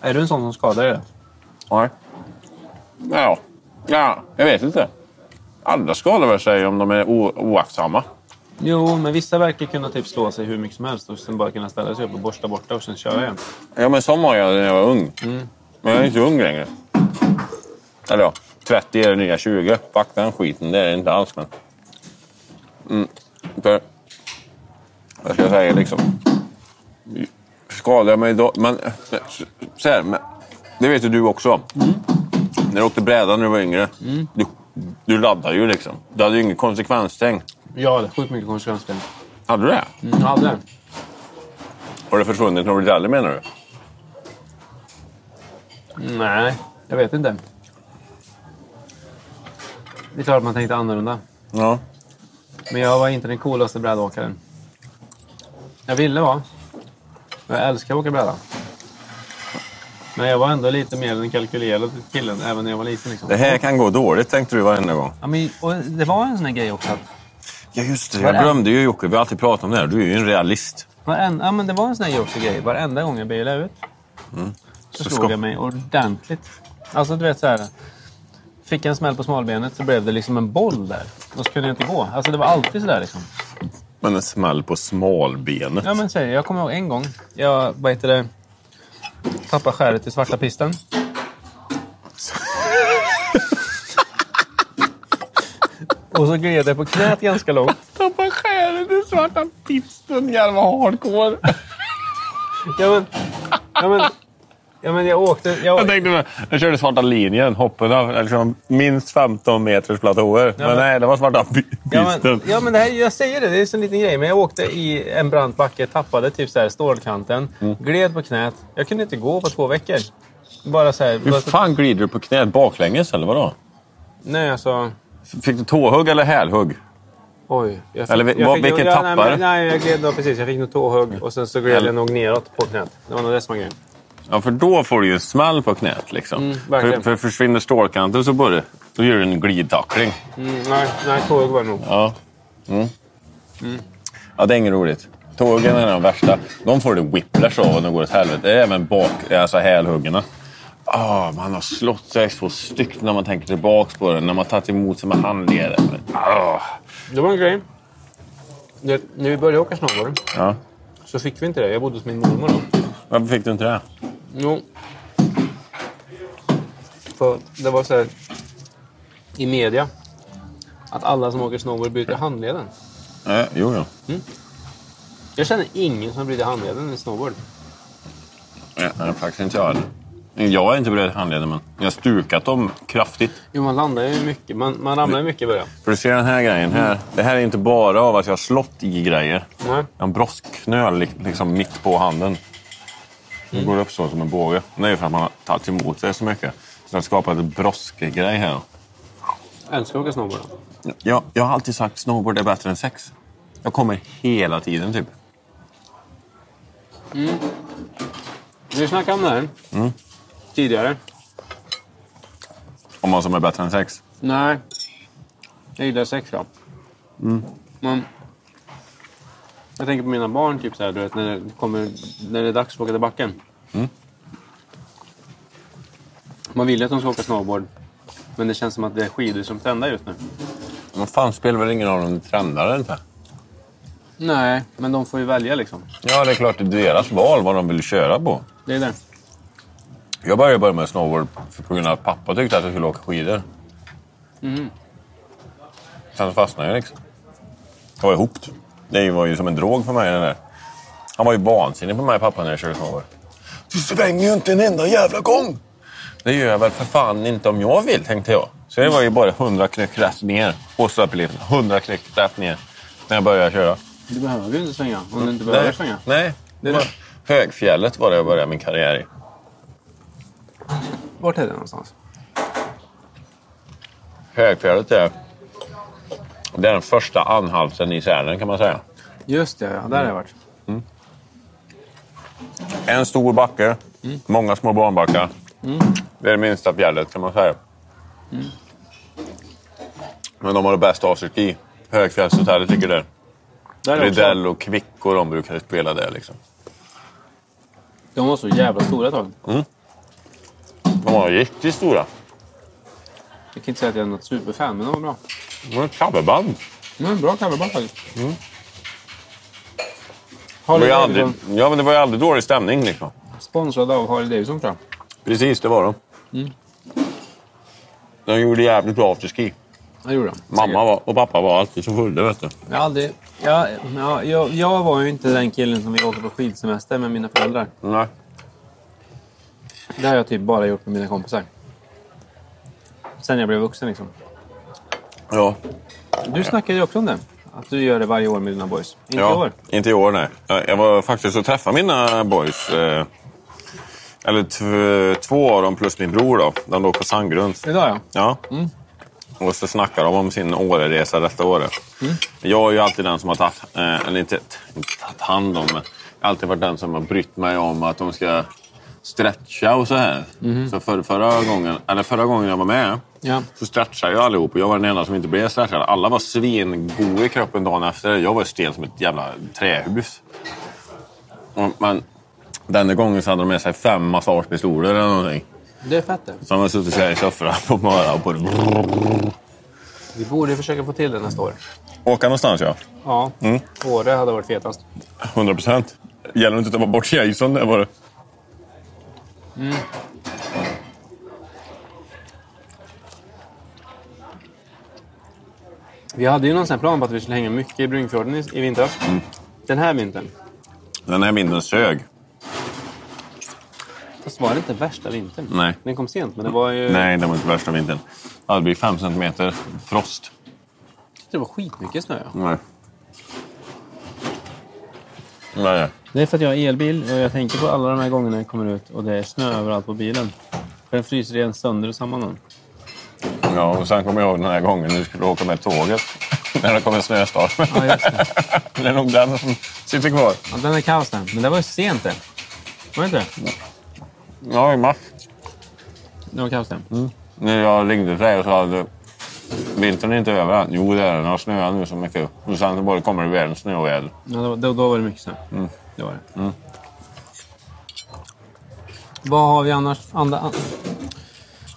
Speaker 1: Är du en sån som skadar dig? då?
Speaker 2: Nej. Ja. ja, jag vet inte. Alla skadar väl sig om de är o- oaktsamma.
Speaker 1: Jo, men vissa verkar kunna typ slå sig hur mycket som helst och sen bara kunna ställa sig upp och borsta borta och sen köra igen.
Speaker 2: Ja, men sån var jag när jag var ung. Men jag är inte ung längre. Eller ja, 30 är det nya 20. Fuck den skiten, det är det inte alls. Men... Mm. För... Vad ska jag säga liksom? Skadade jag mig då? Men så här, men, det vet ju du också. När du åkte bräda när du var yngre, du, du laddade ju liksom. Du hade ju ingen konsekvenstänk.
Speaker 1: Ja, det är sjukt mycket konsekvensspel.
Speaker 2: Hade du det?
Speaker 1: Mm, aldrig.
Speaker 2: Har det försvunnit när du blev äldre menar du?
Speaker 1: Nej, jag vet inte. Det är klart man tänkte annorlunda.
Speaker 2: Ja.
Speaker 1: Men jag var inte den coolaste brädåkaren. Jag ville vara. Jag älskar att åka bräda. Men jag var ändå lite mer den kalkylerade killen även när jag var liten. Liksom.
Speaker 2: Det här kan gå dåligt tänkte du varenda gång.
Speaker 1: Ja, men, och det var en sån här grej också. att
Speaker 2: Ja, just det.
Speaker 1: Vad är
Speaker 2: Jag
Speaker 1: det?
Speaker 2: glömde ju Jocke. Vi har alltid pratat om det här. Du är ju en realist.
Speaker 1: Varenda, ja, men det var en sån här också grej. Varenda gång jag bailade ut så
Speaker 2: Så
Speaker 1: slog
Speaker 2: sko-
Speaker 1: jag mig ordentligt. Alltså du vet så här. Fick jag en smäll på smalbenet så blev det liksom en boll där. Och så kunde jag inte gå. Alltså det var alltid sådär liksom.
Speaker 2: Men en smäll på smalbenet.
Speaker 1: Ja, men så är det. Jag kommer ihåg en gång. Jag vad heter det, tappade skäret i svarta pisten. Och så gled jag på knät ganska långt.
Speaker 2: Tappa själen i svarta pisten. Jävla hardcore.
Speaker 1: Ja, men, ja, men, ja, men jag åkte... Jag,
Speaker 2: Jag tänkte, jag körde svarta linjen. Hoppen av liksom minst 15 meters platåer. men,
Speaker 1: men-
Speaker 2: nej, det var svarta pi-
Speaker 1: ja,
Speaker 2: pisten.
Speaker 1: men, ja, men det här, jag säger det. Det är en sån liten grej. Men jag åkte i en brant backe, tappade typ så här stålkanten,
Speaker 2: Mm.
Speaker 1: gled på knät. Jag kunde inte gå på två veckor. Bara så här... Bara,
Speaker 2: Hur fan glider du på knät baklänges eller vadå?
Speaker 1: nej, alltså...
Speaker 2: Fick du tåhugg eller hälhugg?
Speaker 1: Oj. Jag fick,
Speaker 2: Eller vi- vad- vilken
Speaker 1: ja,
Speaker 2: tappar?
Speaker 1: Nej, men, nej, jag gled nog precis. Jag fick nog tåhugg och sen så gled jag nog neråt på knät. Det var nog det som var grejen.
Speaker 2: Ja, för då får du ju en smäll på knät. Liksom. för,
Speaker 1: Mm, verkligen.
Speaker 2: för försvinner stålkanten så börjar då gör du en glidtackling.
Speaker 1: Mm, nej, nej, tåhugg var det nog.
Speaker 2: Ja. Mm. Ja, det är inget roligt. Tågen är de värsta. De får det whiplash av och de går åt helvete. Även bak, alltså hälhuggorna. Ah, man har slått sig så styggt när man tänker tillbaks på det. När man tagit emot sig med handleden. Ah.
Speaker 1: Det var en grej. Det, när vi började åka snowboard
Speaker 2: Ja.
Speaker 1: så fick vi inte det. Jag bodde hos min mormor då.
Speaker 2: Varför fick du inte det?
Speaker 1: Jo. För det var så här i media att alla som åker snowboard bryter handleden.
Speaker 2: Eh, jo, jo.
Speaker 1: Jag känner ingen som bryter handleden i snowboard.
Speaker 2: Ja, nej, faktiskt inte jag heller. Jag är inte beredd handleden, men jag har stukat dem kraftigt.
Speaker 1: Jo, man landar ju mycket. Man, man ramlar ju mycket i början.
Speaker 2: För du ser den här grejen här. Det här är inte bara av att jag har slått i grejer.
Speaker 1: Nej.
Speaker 2: Jag har en broskknöl li- liksom mitt på handen. Den går upp så som en båge. Det är ju för att man har tagit emot sig så mycket. Så jag har skapat en broskgrej här.
Speaker 1: Älskar att åka snowboard.
Speaker 2: Jag, jag har alltid sagt snowboard är bättre än sex. Jag kommer hela tiden typ.
Speaker 1: Vi snackade om det här tidigare.
Speaker 2: Om vad som är bättre än sex.
Speaker 1: Nej, Mm. jag gillar sex ja. Men jag tänker på mina barn, typ så här, du vet, när, det kommer, när det är dags att åka till backen. Mm. Man vill ju att de ska åka snowboard, men det känns som att det är skidor som trendar just nu.
Speaker 2: Vad fan spelar väl ingen roll om det trendar eller inte?
Speaker 1: Nej, men de får ju välja liksom.
Speaker 2: Ja, det är klart det är deras val vad de vill köra på.
Speaker 1: Det är det.
Speaker 2: Jag började börja med snowboard för- på grund av att pappa tyckte att jag skulle åka skidor.
Speaker 1: Mm.
Speaker 2: Sen fastnade jag liksom. Jag var ihop. Det var ju som en drog för mig det där. Han var ju vansinnig på mig pappa när jag körde snowboard. Du svänger ju inte en enda jävla gång! Det gör jag väl för fan inte om jag vill, tänkte jag. Så det var ju bara 100 knyck rätt ner. Och så upp i liften. 100 knyck rätt ner. När jag började köra.
Speaker 1: Du behöver ju inte svänga om du inte behöver svänga.
Speaker 2: nej.
Speaker 1: Det är det.
Speaker 2: Högfjället var det jag började min karriär i.
Speaker 1: Vart är det någonstans?
Speaker 2: Högfjället är Det är den första anhalten i Sälen kan man säga.
Speaker 1: Just det, ja, där har jag varit.
Speaker 2: En stor backe, många små barnbackar. Det är det minsta fjället kan man säga. Men de har det bästa av sitt i. Högfjällshotellet ligger där.
Speaker 1: Där har jag också varit.
Speaker 2: Rydell och Kvick och de brukade spela där. Liksom.
Speaker 1: De var så jävla stora ett tag.
Speaker 2: De var riktigt stora.
Speaker 1: Jag kan inte säga att jag är något superfan, men de var bra.
Speaker 2: De var ett coverband.
Speaker 1: De var en bra coverband faktiskt.
Speaker 2: Det var
Speaker 1: Harley
Speaker 2: ju
Speaker 1: Davidson,
Speaker 2: aldrig, ja, men det var ju aldrig dålig stämning. Liksom.
Speaker 1: sponsrad av Harley Davidson tror jag.
Speaker 2: Precis, det var de. De gjorde jävligt bra afterski.
Speaker 1: Jag gjorde de.
Speaker 2: Mamma var, och pappa var alltid så fulla. Vet du.
Speaker 1: Jag, har aldrig, jag, ja, jag, jag var ju inte den killen som vi åkte på skidsemester med mina föräldrar.
Speaker 2: Nej.
Speaker 1: Det har jag typ bara gjort med mina kompisar. Sen jag blev vuxen liksom.
Speaker 2: Ja.
Speaker 1: Du snackade ju också om det. Att du gör det varje år med dina boys. Inte
Speaker 2: ja.
Speaker 1: i år.
Speaker 2: Inte i år, nej. Jag jag var faktiskt och träffade mina boys. Eh, eller tv- två av dem plus min bror. Då. De låg på Sandgrund.
Speaker 1: Idag ja.
Speaker 2: Ja.
Speaker 1: Mm.
Speaker 2: Och så snackar de om sin Åreresa detta året.
Speaker 1: Mm.
Speaker 2: Jag är ju alltid den som har tagit, eh, eller inte, inte tagit hand om, men jag har alltid varit den som har brytt mig om att de ska stretcha och så här.
Speaker 1: Mm.
Speaker 2: Så för, förra, gången, eller förra gången jag var med
Speaker 1: Ja.
Speaker 2: så stretchade jag allihop och jag var den enda som inte blev stretchad. Alla var svingoda i kroppen dagen efter. Jag var stel som ett jävla trähus. Och- Men denna gången så hade de med sig fem massagepistoler eller någonting.
Speaker 1: Det är fett det.
Speaker 2: Så de har suttit så här i soffan på morgonen och på
Speaker 1: Vi borde försöka få till det nästa år.
Speaker 2: Åka någonstans ja.
Speaker 1: Ja.
Speaker 2: Mm.
Speaker 1: Åre hade varit fetast.
Speaker 2: 100 procent. Gäller det inte att ta bort Jason där var det.
Speaker 1: Vi hade ju någon sån här plan på att vi skulle hänga mycket i Brunfjorden i, i vintras.
Speaker 2: Mm.
Speaker 1: Den här vintern.
Speaker 2: Den här vinden sög.
Speaker 1: Fast var det inte värsta vintern?
Speaker 2: Nej.
Speaker 1: Den kom sent, men det var ju...
Speaker 2: Nej, det var inte värsta vintern. Ja, Det blir 5 centimeter frost.
Speaker 1: Det var skitmycket snö. Ja.
Speaker 2: Nej. Nej, nej.
Speaker 1: Det är för att jag har elbil och jag tänker på alla de här gångerna jag kommer ut och det är snö överallt på bilen. För den fryser igen sönder och samman den.
Speaker 2: Ja, och sen kommer jag ihåg den här gången när du skulle åka med tåget. När det kom en snöstorm.
Speaker 1: Ja, just det.
Speaker 2: det är nog den som sitter kvar.
Speaker 1: Ja, den är kaos den. Men det var ju sent det. Var det inte det?
Speaker 2: Ja, i mars.
Speaker 1: Det var kaos det.
Speaker 2: När jag ringde till dig och sa att vintern är inte över än. Jo, det är den. Det har snöat nu så mycket. Och sen så bara kommer det världens snöoväder.
Speaker 1: Ja, då, då, då var det mycket snö.
Speaker 2: Mm.
Speaker 1: Det var det. Vad har vi annars? Andra, an,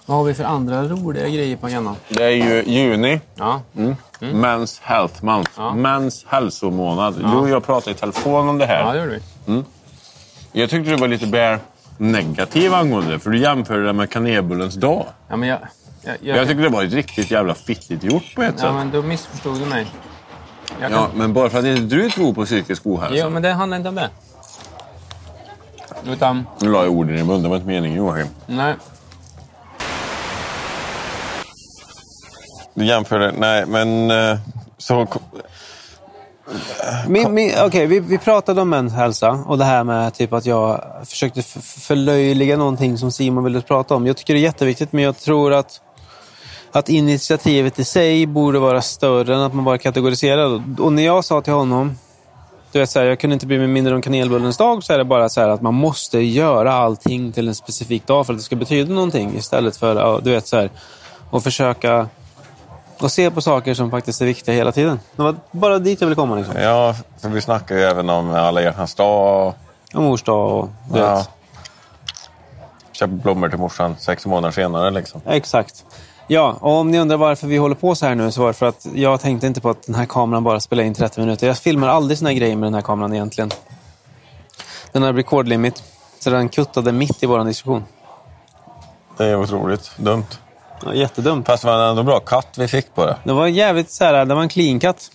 Speaker 1: vad har vi för andra roliga grejer på agendan?
Speaker 2: Det är ju juni.
Speaker 1: Ja.
Speaker 2: Men's health month.
Speaker 1: Mm. Ja.
Speaker 2: Mäns hälsomånad. Du och jag pratade i telefon om det här.
Speaker 1: ja, det gjorde vi.
Speaker 2: Jag tyckte du var lite mer negativ angående det, för du jämförde det med kanelbullens dag.
Speaker 1: Ja, men jag, jag, jag,
Speaker 2: Jag tycker det var riktigt jävla fittigt gjort på ett sätt.
Speaker 1: ja, men då missförstod du mig. Jag kan,
Speaker 2: Ja, men bara för att inte du tror på psykisk ohälsa.
Speaker 1: Jo, men det handlar inte om det. Utan,
Speaker 2: Nu la jag orden i munnen, det var inte meningen Joakim.
Speaker 1: nej.
Speaker 2: Du jämförde, nej men... eh, Så,
Speaker 1: Min, min, okej, vi, vi pratade om mäns hälsa och det här med typ att jag försökte f- förlöjliga någonting som Simon ville prata om. Jag tycker det är jätteviktigt, men jag tror att, att initiativet i sig borde vara större än att man bara kategoriserar. Och när jag sa till honom, du vet, så här, jag kunde inte bry mig mindre om kanelbullens dag, så är det bara så här att man måste göra allting till en specifik dag för att det ska betyda någonting istället för ja, du vet, så här, att försöka och se på saker som faktiskt är viktiga hela tiden. Det var bara dit jag ville komma. Liksom.
Speaker 2: ja, för vi snackar ju även om alla hjärtans dag.
Speaker 1: Om mors dag och du
Speaker 2: Ja.
Speaker 1: vet.
Speaker 2: Köp blommor till morsan sex månader senare liksom.
Speaker 1: Exakt. Ja, och om ni undrar varför vi håller på så här nu så var det för att jag tänkte inte på att den här kameran bara spelar in 30 minuter. Jag filmar aldrig såna här grejer med den här kameran egentligen. Den har rekordlimit, så den kuttade mitt i vår diskussion.
Speaker 2: Det är otroligt dumt.
Speaker 1: Ja, jättedumt.
Speaker 2: Fast det var ändå bra katt vi fick på det.
Speaker 1: Det var jävligt så här, det var en clean cut.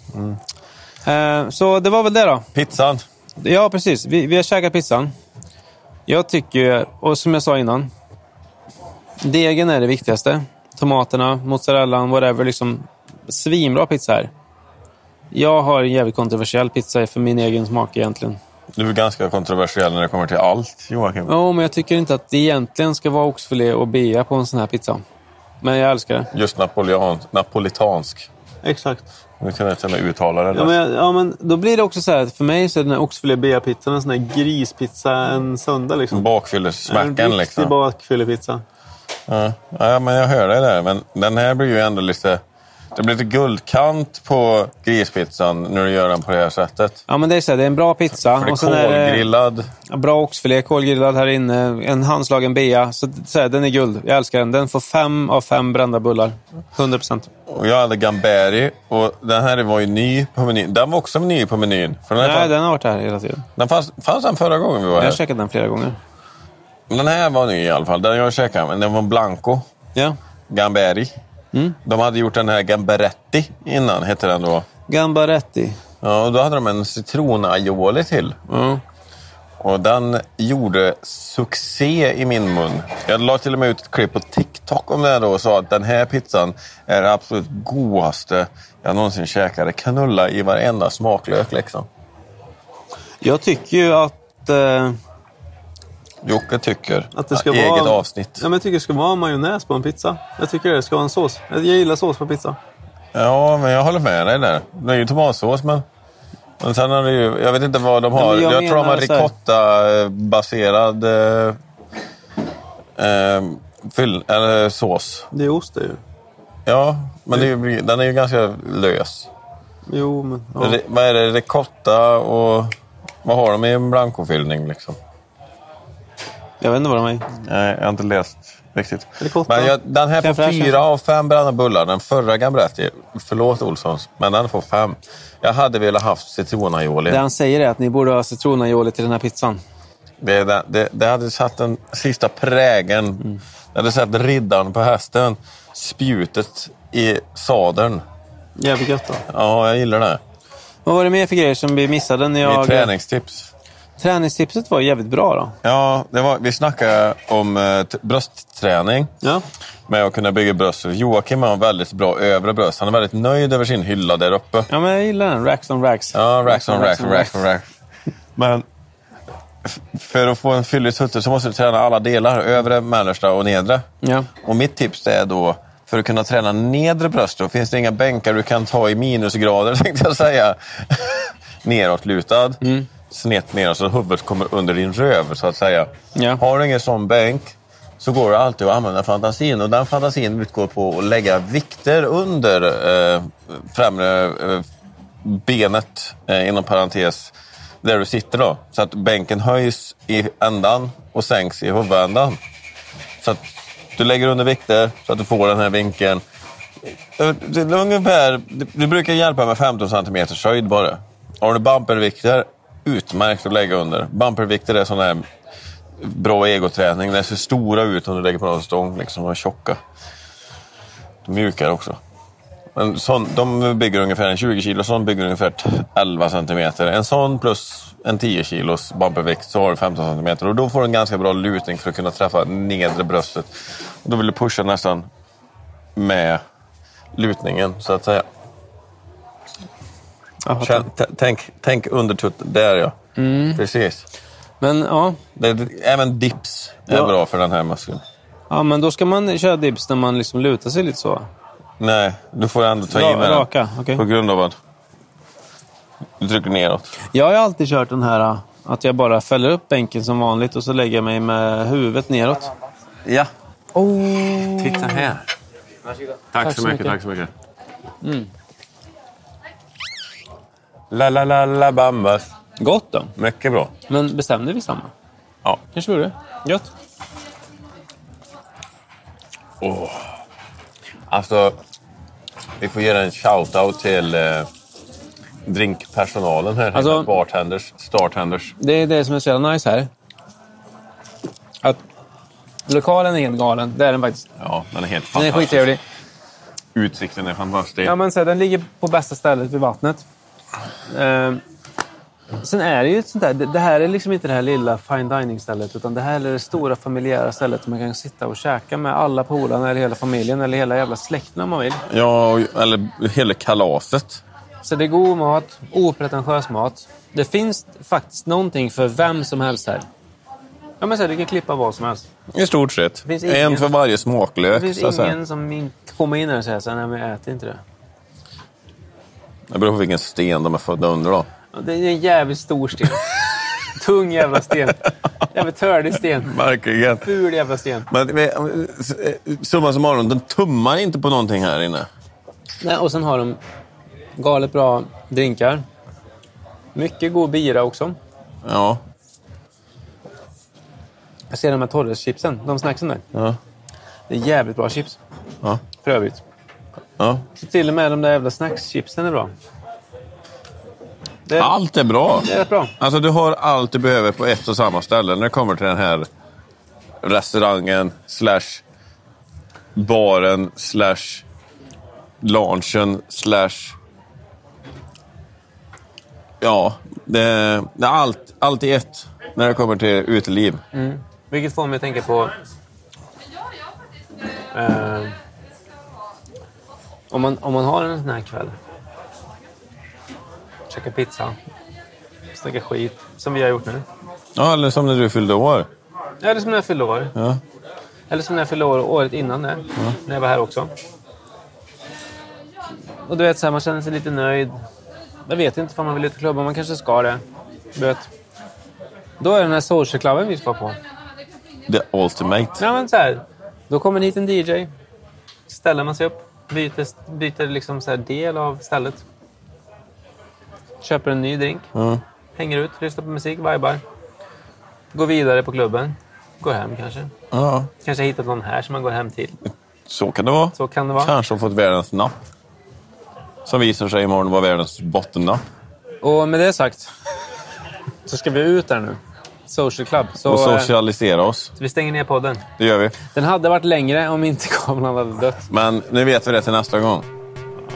Speaker 1: Eh, så det var väl det då.
Speaker 2: Pizzan.
Speaker 1: Ja, precis. Vi, vi har käkat pizzan. Jag tycker, ju- och som jag sa innan, degen är det viktigaste. Tomaterna, mozzarellan, whatever. Liksom, svinbra pizza här. Jag har en jävligt kontroversiell pizza för min egen smak egentligen.
Speaker 2: Du är ganska kontroversiell när det kommer till allt, Joakim.
Speaker 1: Jo, men jag tycker inte att det egentligen ska vara oxfilé och bea på en sån här pizza. Men jag älskar det.
Speaker 2: Just napoleon, napolitansk.
Speaker 1: Exakt.
Speaker 2: Nu kan jag känna uttalare.
Speaker 1: Ja, men, jag- ja, men då blir det också så här att för mig så är den här oxfilébea-pizzan en sån här grispizza en söndag. Liksom. en
Speaker 2: Bakfyllesmackan
Speaker 1: riktig
Speaker 2: Mm, liksom.
Speaker 1: bakfyllepizza.
Speaker 2: Ja, ja, men jag hör dig där. Men den här blir ju ändå lite... Det blir lite guldkant på grispizzan när du gör den på det här sättet.
Speaker 1: Ja, men det är, så här, det är en bra pizza.
Speaker 2: För det är
Speaker 1: och sen är det-
Speaker 2: kolgrillad.
Speaker 1: Bra oxfilé, kolgrillad här inne, en handslagen bea. Så, så här, den är guld. Jag älskar den. Den får fem av fem brända bullar. 100 procent.
Speaker 2: Och jag hade gamberi. Och den här var ju ny på menyn. Den var också ny på menyn. För den, här
Speaker 1: Nej,
Speaker 2: fann, den...
Speaker 1: den har varit här hela tiden.
Speaker 2: fanns, fanns den förra gången vi var
Speaker 1: Jag har
Speaker 2: här?
Speaker 1: käkat den flera gånger.
Speaker 2: Men Den här var ny i alla fall. Den jag käkade. Men den var blanco.
Speaker 1: Ja.
Speaker 2: Gamberi.
Speaker 1: Mm.
Speaker 2: De hade gjort den här gamberetti innan, hette den då.
Speaker 1: Gambaretti.
Speaker 2: Ja, och då hade de en citronaioli till.
Speaker 1: Ja.
Speaker 2: Och den gjorde succé i min mun. Jag la till och med ut ett klipp på TikTok om det här då och sa att den här pizzan är det absolut godaste jag någonsin käkade. Knulla i varenda smaklök liksom.
Speaker 1: Jag tycker ju att, eh,
Speaker 2: Jocke tycker
Speaker 1: att det ska
Speaker 2: eget
Speaker 1: vara...
Speaker 2: avsnitt.
Speaker 1: Ja, men jag tycker det ska vara majonnäs på en pizza. Jag tycker det ska vara en sås. Jag gillar sås på pizza.
Speaker 2: Ja, men jag håller med dig där. Det är ju tomatsås, men... Men sen har det ju... Jag vet inte vad de
Speaker 1: Ja,
Speaker 2: har.
Speaker 1: men jag
Speaker 2: jag tror de har
Speaker 1: menar så här-
Speaker 2: ricotta-baserad eh, eh, fyll, eller sås.
Speaker 1: Det är ost det ju.
Speaker 2: Ja, men det är ju, den är ju ganska lös.
Speaker 1: Jo, men... Ja.
Speaker 2: Ri- Vad är det? Ricotta och... Vad har de i en blancofyllning liksom?
Speaker 1: Jag vet inte vad de är.
Speaker 2: Nej, jag har inte läst riktigt.
Speaker 1: Ricotta.
Speaker 2: Men jag, den här
Speaker 1: Crème
Speaker 2: får
Speaker 1: fraîche,
Speaker 2: fyra av fem brända bullar. Den förra Gambretti, förlåt Olssons, men den får fem. Jag hade velat haft citronaioli.
Speaker 1: Det han säger är att ni borde ha citronaioli till den här pizzan.
Speaker 2: Det, det, det, det hade satt den sista prägen.
Speaker 1: Mm.
Speaker 2: Det hade satt riddaren på hästen. Spjutet i sadeln.
Speaker 1: Jävligt gött då.
Speaker 2: Ja, jag gillar det.
Speaker 1: Vad var det mer för grejer som vi missade när
Speaker 2: Mitt
Speaker 1: jag...
Speaker 2: träningstips.
Speaker 1: Träningstipset var jävligt bra då.
Speaker 2: Ja, det var, vi snackade om eh, t- bröstträning.
Speaker 1: Ja.
Speaker 2: Med att kunna bygga bröst. Joakim har väldigt bra övre bröst. Han är väldigt nöjd över sin hylla där uppe.
Speaker 1: Ja, men jag gillar den. Racks on racks.
Speaker 2: Ja, racks on racks on racks on racks. Men f- för att få en fyllig tutte så måste du träna alla delar. Övre, mellersta och nedre.
Speaker 1: Ja.
Speaker 2: Och mitt tips är då, för att kunna träna nedre bröst, då finns det inga bänkar du kan ta i minusgrader, tänkte jag säga. Neråtlutad, snett neråt, så huvudet kommer under din röv, så att säga.
Speaker 1: Ja.
Speaker 2: Har du ingen sån bänk så går det alltid att använda fantasin. Och den fantasin utgår på att lägga vikter under eh, främre eh, benet, eh, inom parentes, där du sitter. då. Så att bänken höjs i ändan och sänks i huvudändan. Så att du lägger under vikter så att du får den här vinkeln. Eh, det är Ungefär, det- det brukar hjälpa med 15 cm höjd bara. Har du bumpervikter, utmärkt att lägga under. Bumpervikter är sån här bra egoträning. De ser stora ut om du lägger på någon stång. Liksom, de är tjocka. De är mjukare också. Men sån, de bygger ungefär en 20 kilo, sån bygger ungefär 11 centimeter. En sån plus en 10 kilos bumpervikt så har du 15 centimeter. Och då får du en ganska bra lutning för att kunna träffa nedre bröstet. Och då vill du pusha nästan med lutningen så att säga.
Speaker 1: Jag fattar.
Speaker 2: Känn, t- tänk, tänk under tutten. Där ja. Precis.
Speaker 1: Men ja.
Speaker 2: Det, även dips är
Speaker 1: Ja.
Speaker 2: bra för den här muskeln.
Speaker 1: ja, men då ska man köra dips när man liksom lutar sig lite så.
Speaker 2: Nej, du får ändå ta i
Speaker 1: Ra-
Speaker 2: med
Speaker 1: raka,
Speaker 2: den.
Speaker 1: okej.
Speaker 2: På grund av att du trycker neråt.
Speaker 1: Jag har ju alltid kört den här äh, att jag bara fäller upp bänken som vanligt och så lägger jag mig med huvudet neråt.
Speaker 2: Ja.
Speaker 1: Oh.
Speaker 2: Titta här. Tack,
Speaker 1: så mycket, Mm. mycket. tack
Speaker 2: så mycket. La, la, la, la, bambas.
Speaker 1: Gott då.
Speaker 2: Mycket bra.
Speaker 1: Men bestämde vi samma?
Speaker 2: Ja.
Speaker 1: Kanske vi gjorde. Gött.
Speaker 2: Alltså, vi får ge en shout-out till eh, drinkpersonalen här.
Speaker 1: Alltså-
Speaker 2: bartenders, startenders.
Speaker 1: Det är det som är så jävla nice här. Att lokalen är helt galen. Det är den faktiskt.
Speaker 2: Ja, den är helt
Speaker 1: Den är
Speaker 2: fantastisk.
Speaker 1: skittrevlig.
Speaker 2: Utsikten är fantastisk.
Speaker 1: Ja, men så här, den ligger på bästa stället vid vattnet. Ehm, sen är det ju ett sånt där... Det, det här är liksom inte det här lilla fine dining-stället utan det här är det stora familjära stället där man kan sitta och käka med alla polarna eller hela familjen eller hela jävla släkten om man vill.
Speaker 2: ja, och- eller hela kalaset.
Speaker 1: Så det är god mat, opretentiös mat. Det finns faktiskt någonting för vem som helst här. Ja, men så här, du kan klippa vad som helst.
Speaker 2: I stort sett.
Speaker 1: finns
Speaker 2: En
Speaker 1: ingen-
Speaker 2: för varje smaklök.
Speaker 1: Det finns
Speaker 2: så att säga.
Speaker 1: ingen som in- kommer in här och säger så här, nej men jag äter inte det.
Speaker 2: Det beror på vilken sten de är födda under då.
Speaker 1: Ja, Det är en jävligt stor sten. Tung jävla sten. Jävligt tördig sten.
Speaker 2: Verkligen.
Speaker 1: Ful jävla sten.
Speaker 2: Men, men summa summarum, den tummar inte på någonting här inne.
Speaker 1: Nej, och sen har de galet bra drinkar. Mycket god bira också.
Speaker 2: Ja.
Speaker 1: Jag ser de här Torres-chipsen, de snacksen där.
Speaker 2: Ja.
Speaker 1: Det är jävligt bra chips,
Speaker 2: Ja.
Speaker 1: för övrigt.
Speaker 2: ja.
Speaker 1: Så till och med de där jävla snackschipsen är bra. Det är,
Speaker 2: Allt är bra.
Speaker 1: det är rätt bra.
Speaker 2: Alltså du har allt du behöver på ett och samma ställe när det kommer till den här restaurangen slash baren slash lunchen slash ja, det, det är allt, allt i ett när det kommer till uteliv.
Speaker 1: Vilket får mig att tänka på... Eh, om, man, om man har en sån här kväll. Käka pizza. Snacka skit, som vi har gjort nu.
Speaker 2: Ja, eller som när du fyllde år.
Speaker 1: Eller som när jag fyllde år.
Speaker 2: Ja.
Speaker 1: Eller som när jag fyllde år året innan det. När jag var här också. Och du vet, så här, man känner sig lite nöjd. Jag vet inte om man vill ut och klubba. Man kanske ska det. Du vet. Då är den här socialklubben vi ska på.
Speaker 2: The ultimate.
Speaker 1: Ja, men så här. Då kommer hit en DJ. Ställer man sig upp. Byter, byter liksom så här del av stället. Köper en ny drink.
Speaker 2: Ja.
Speaker 1: Hänger ut, lyssnar på musik, vibar. Går vidare på klubben. Går hem kanske.
Speaker 2: ja,
Speaker 1: Kanske hittat någon här som man går hem till.
Speaker 2: så kan det vara.
Speaker 1: Så kan det vara.
Speaker 2: Kanske har fått världens napp. Som visar sig imorgon vara världens bottennapp.
Speaker 1: Och med det sagt så ska vi ut där nu. Social Club. Så,
Speaker 2: Och
Speaker 1: eh,
Speaker 2: socialisera oss.
Speaker 1: så vi stänger ner podden.
Speaker 2: Det gör vi.
Speaker 1: Den hade varit längre om inte kameran hade dött.
Speaker 2: Men nu vet vi det till nästa gång.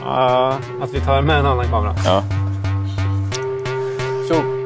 Speaker 1: Ja, att vi tar med en annan kamera.
Speaker 2: Ja.
Speaker 1: Tjo!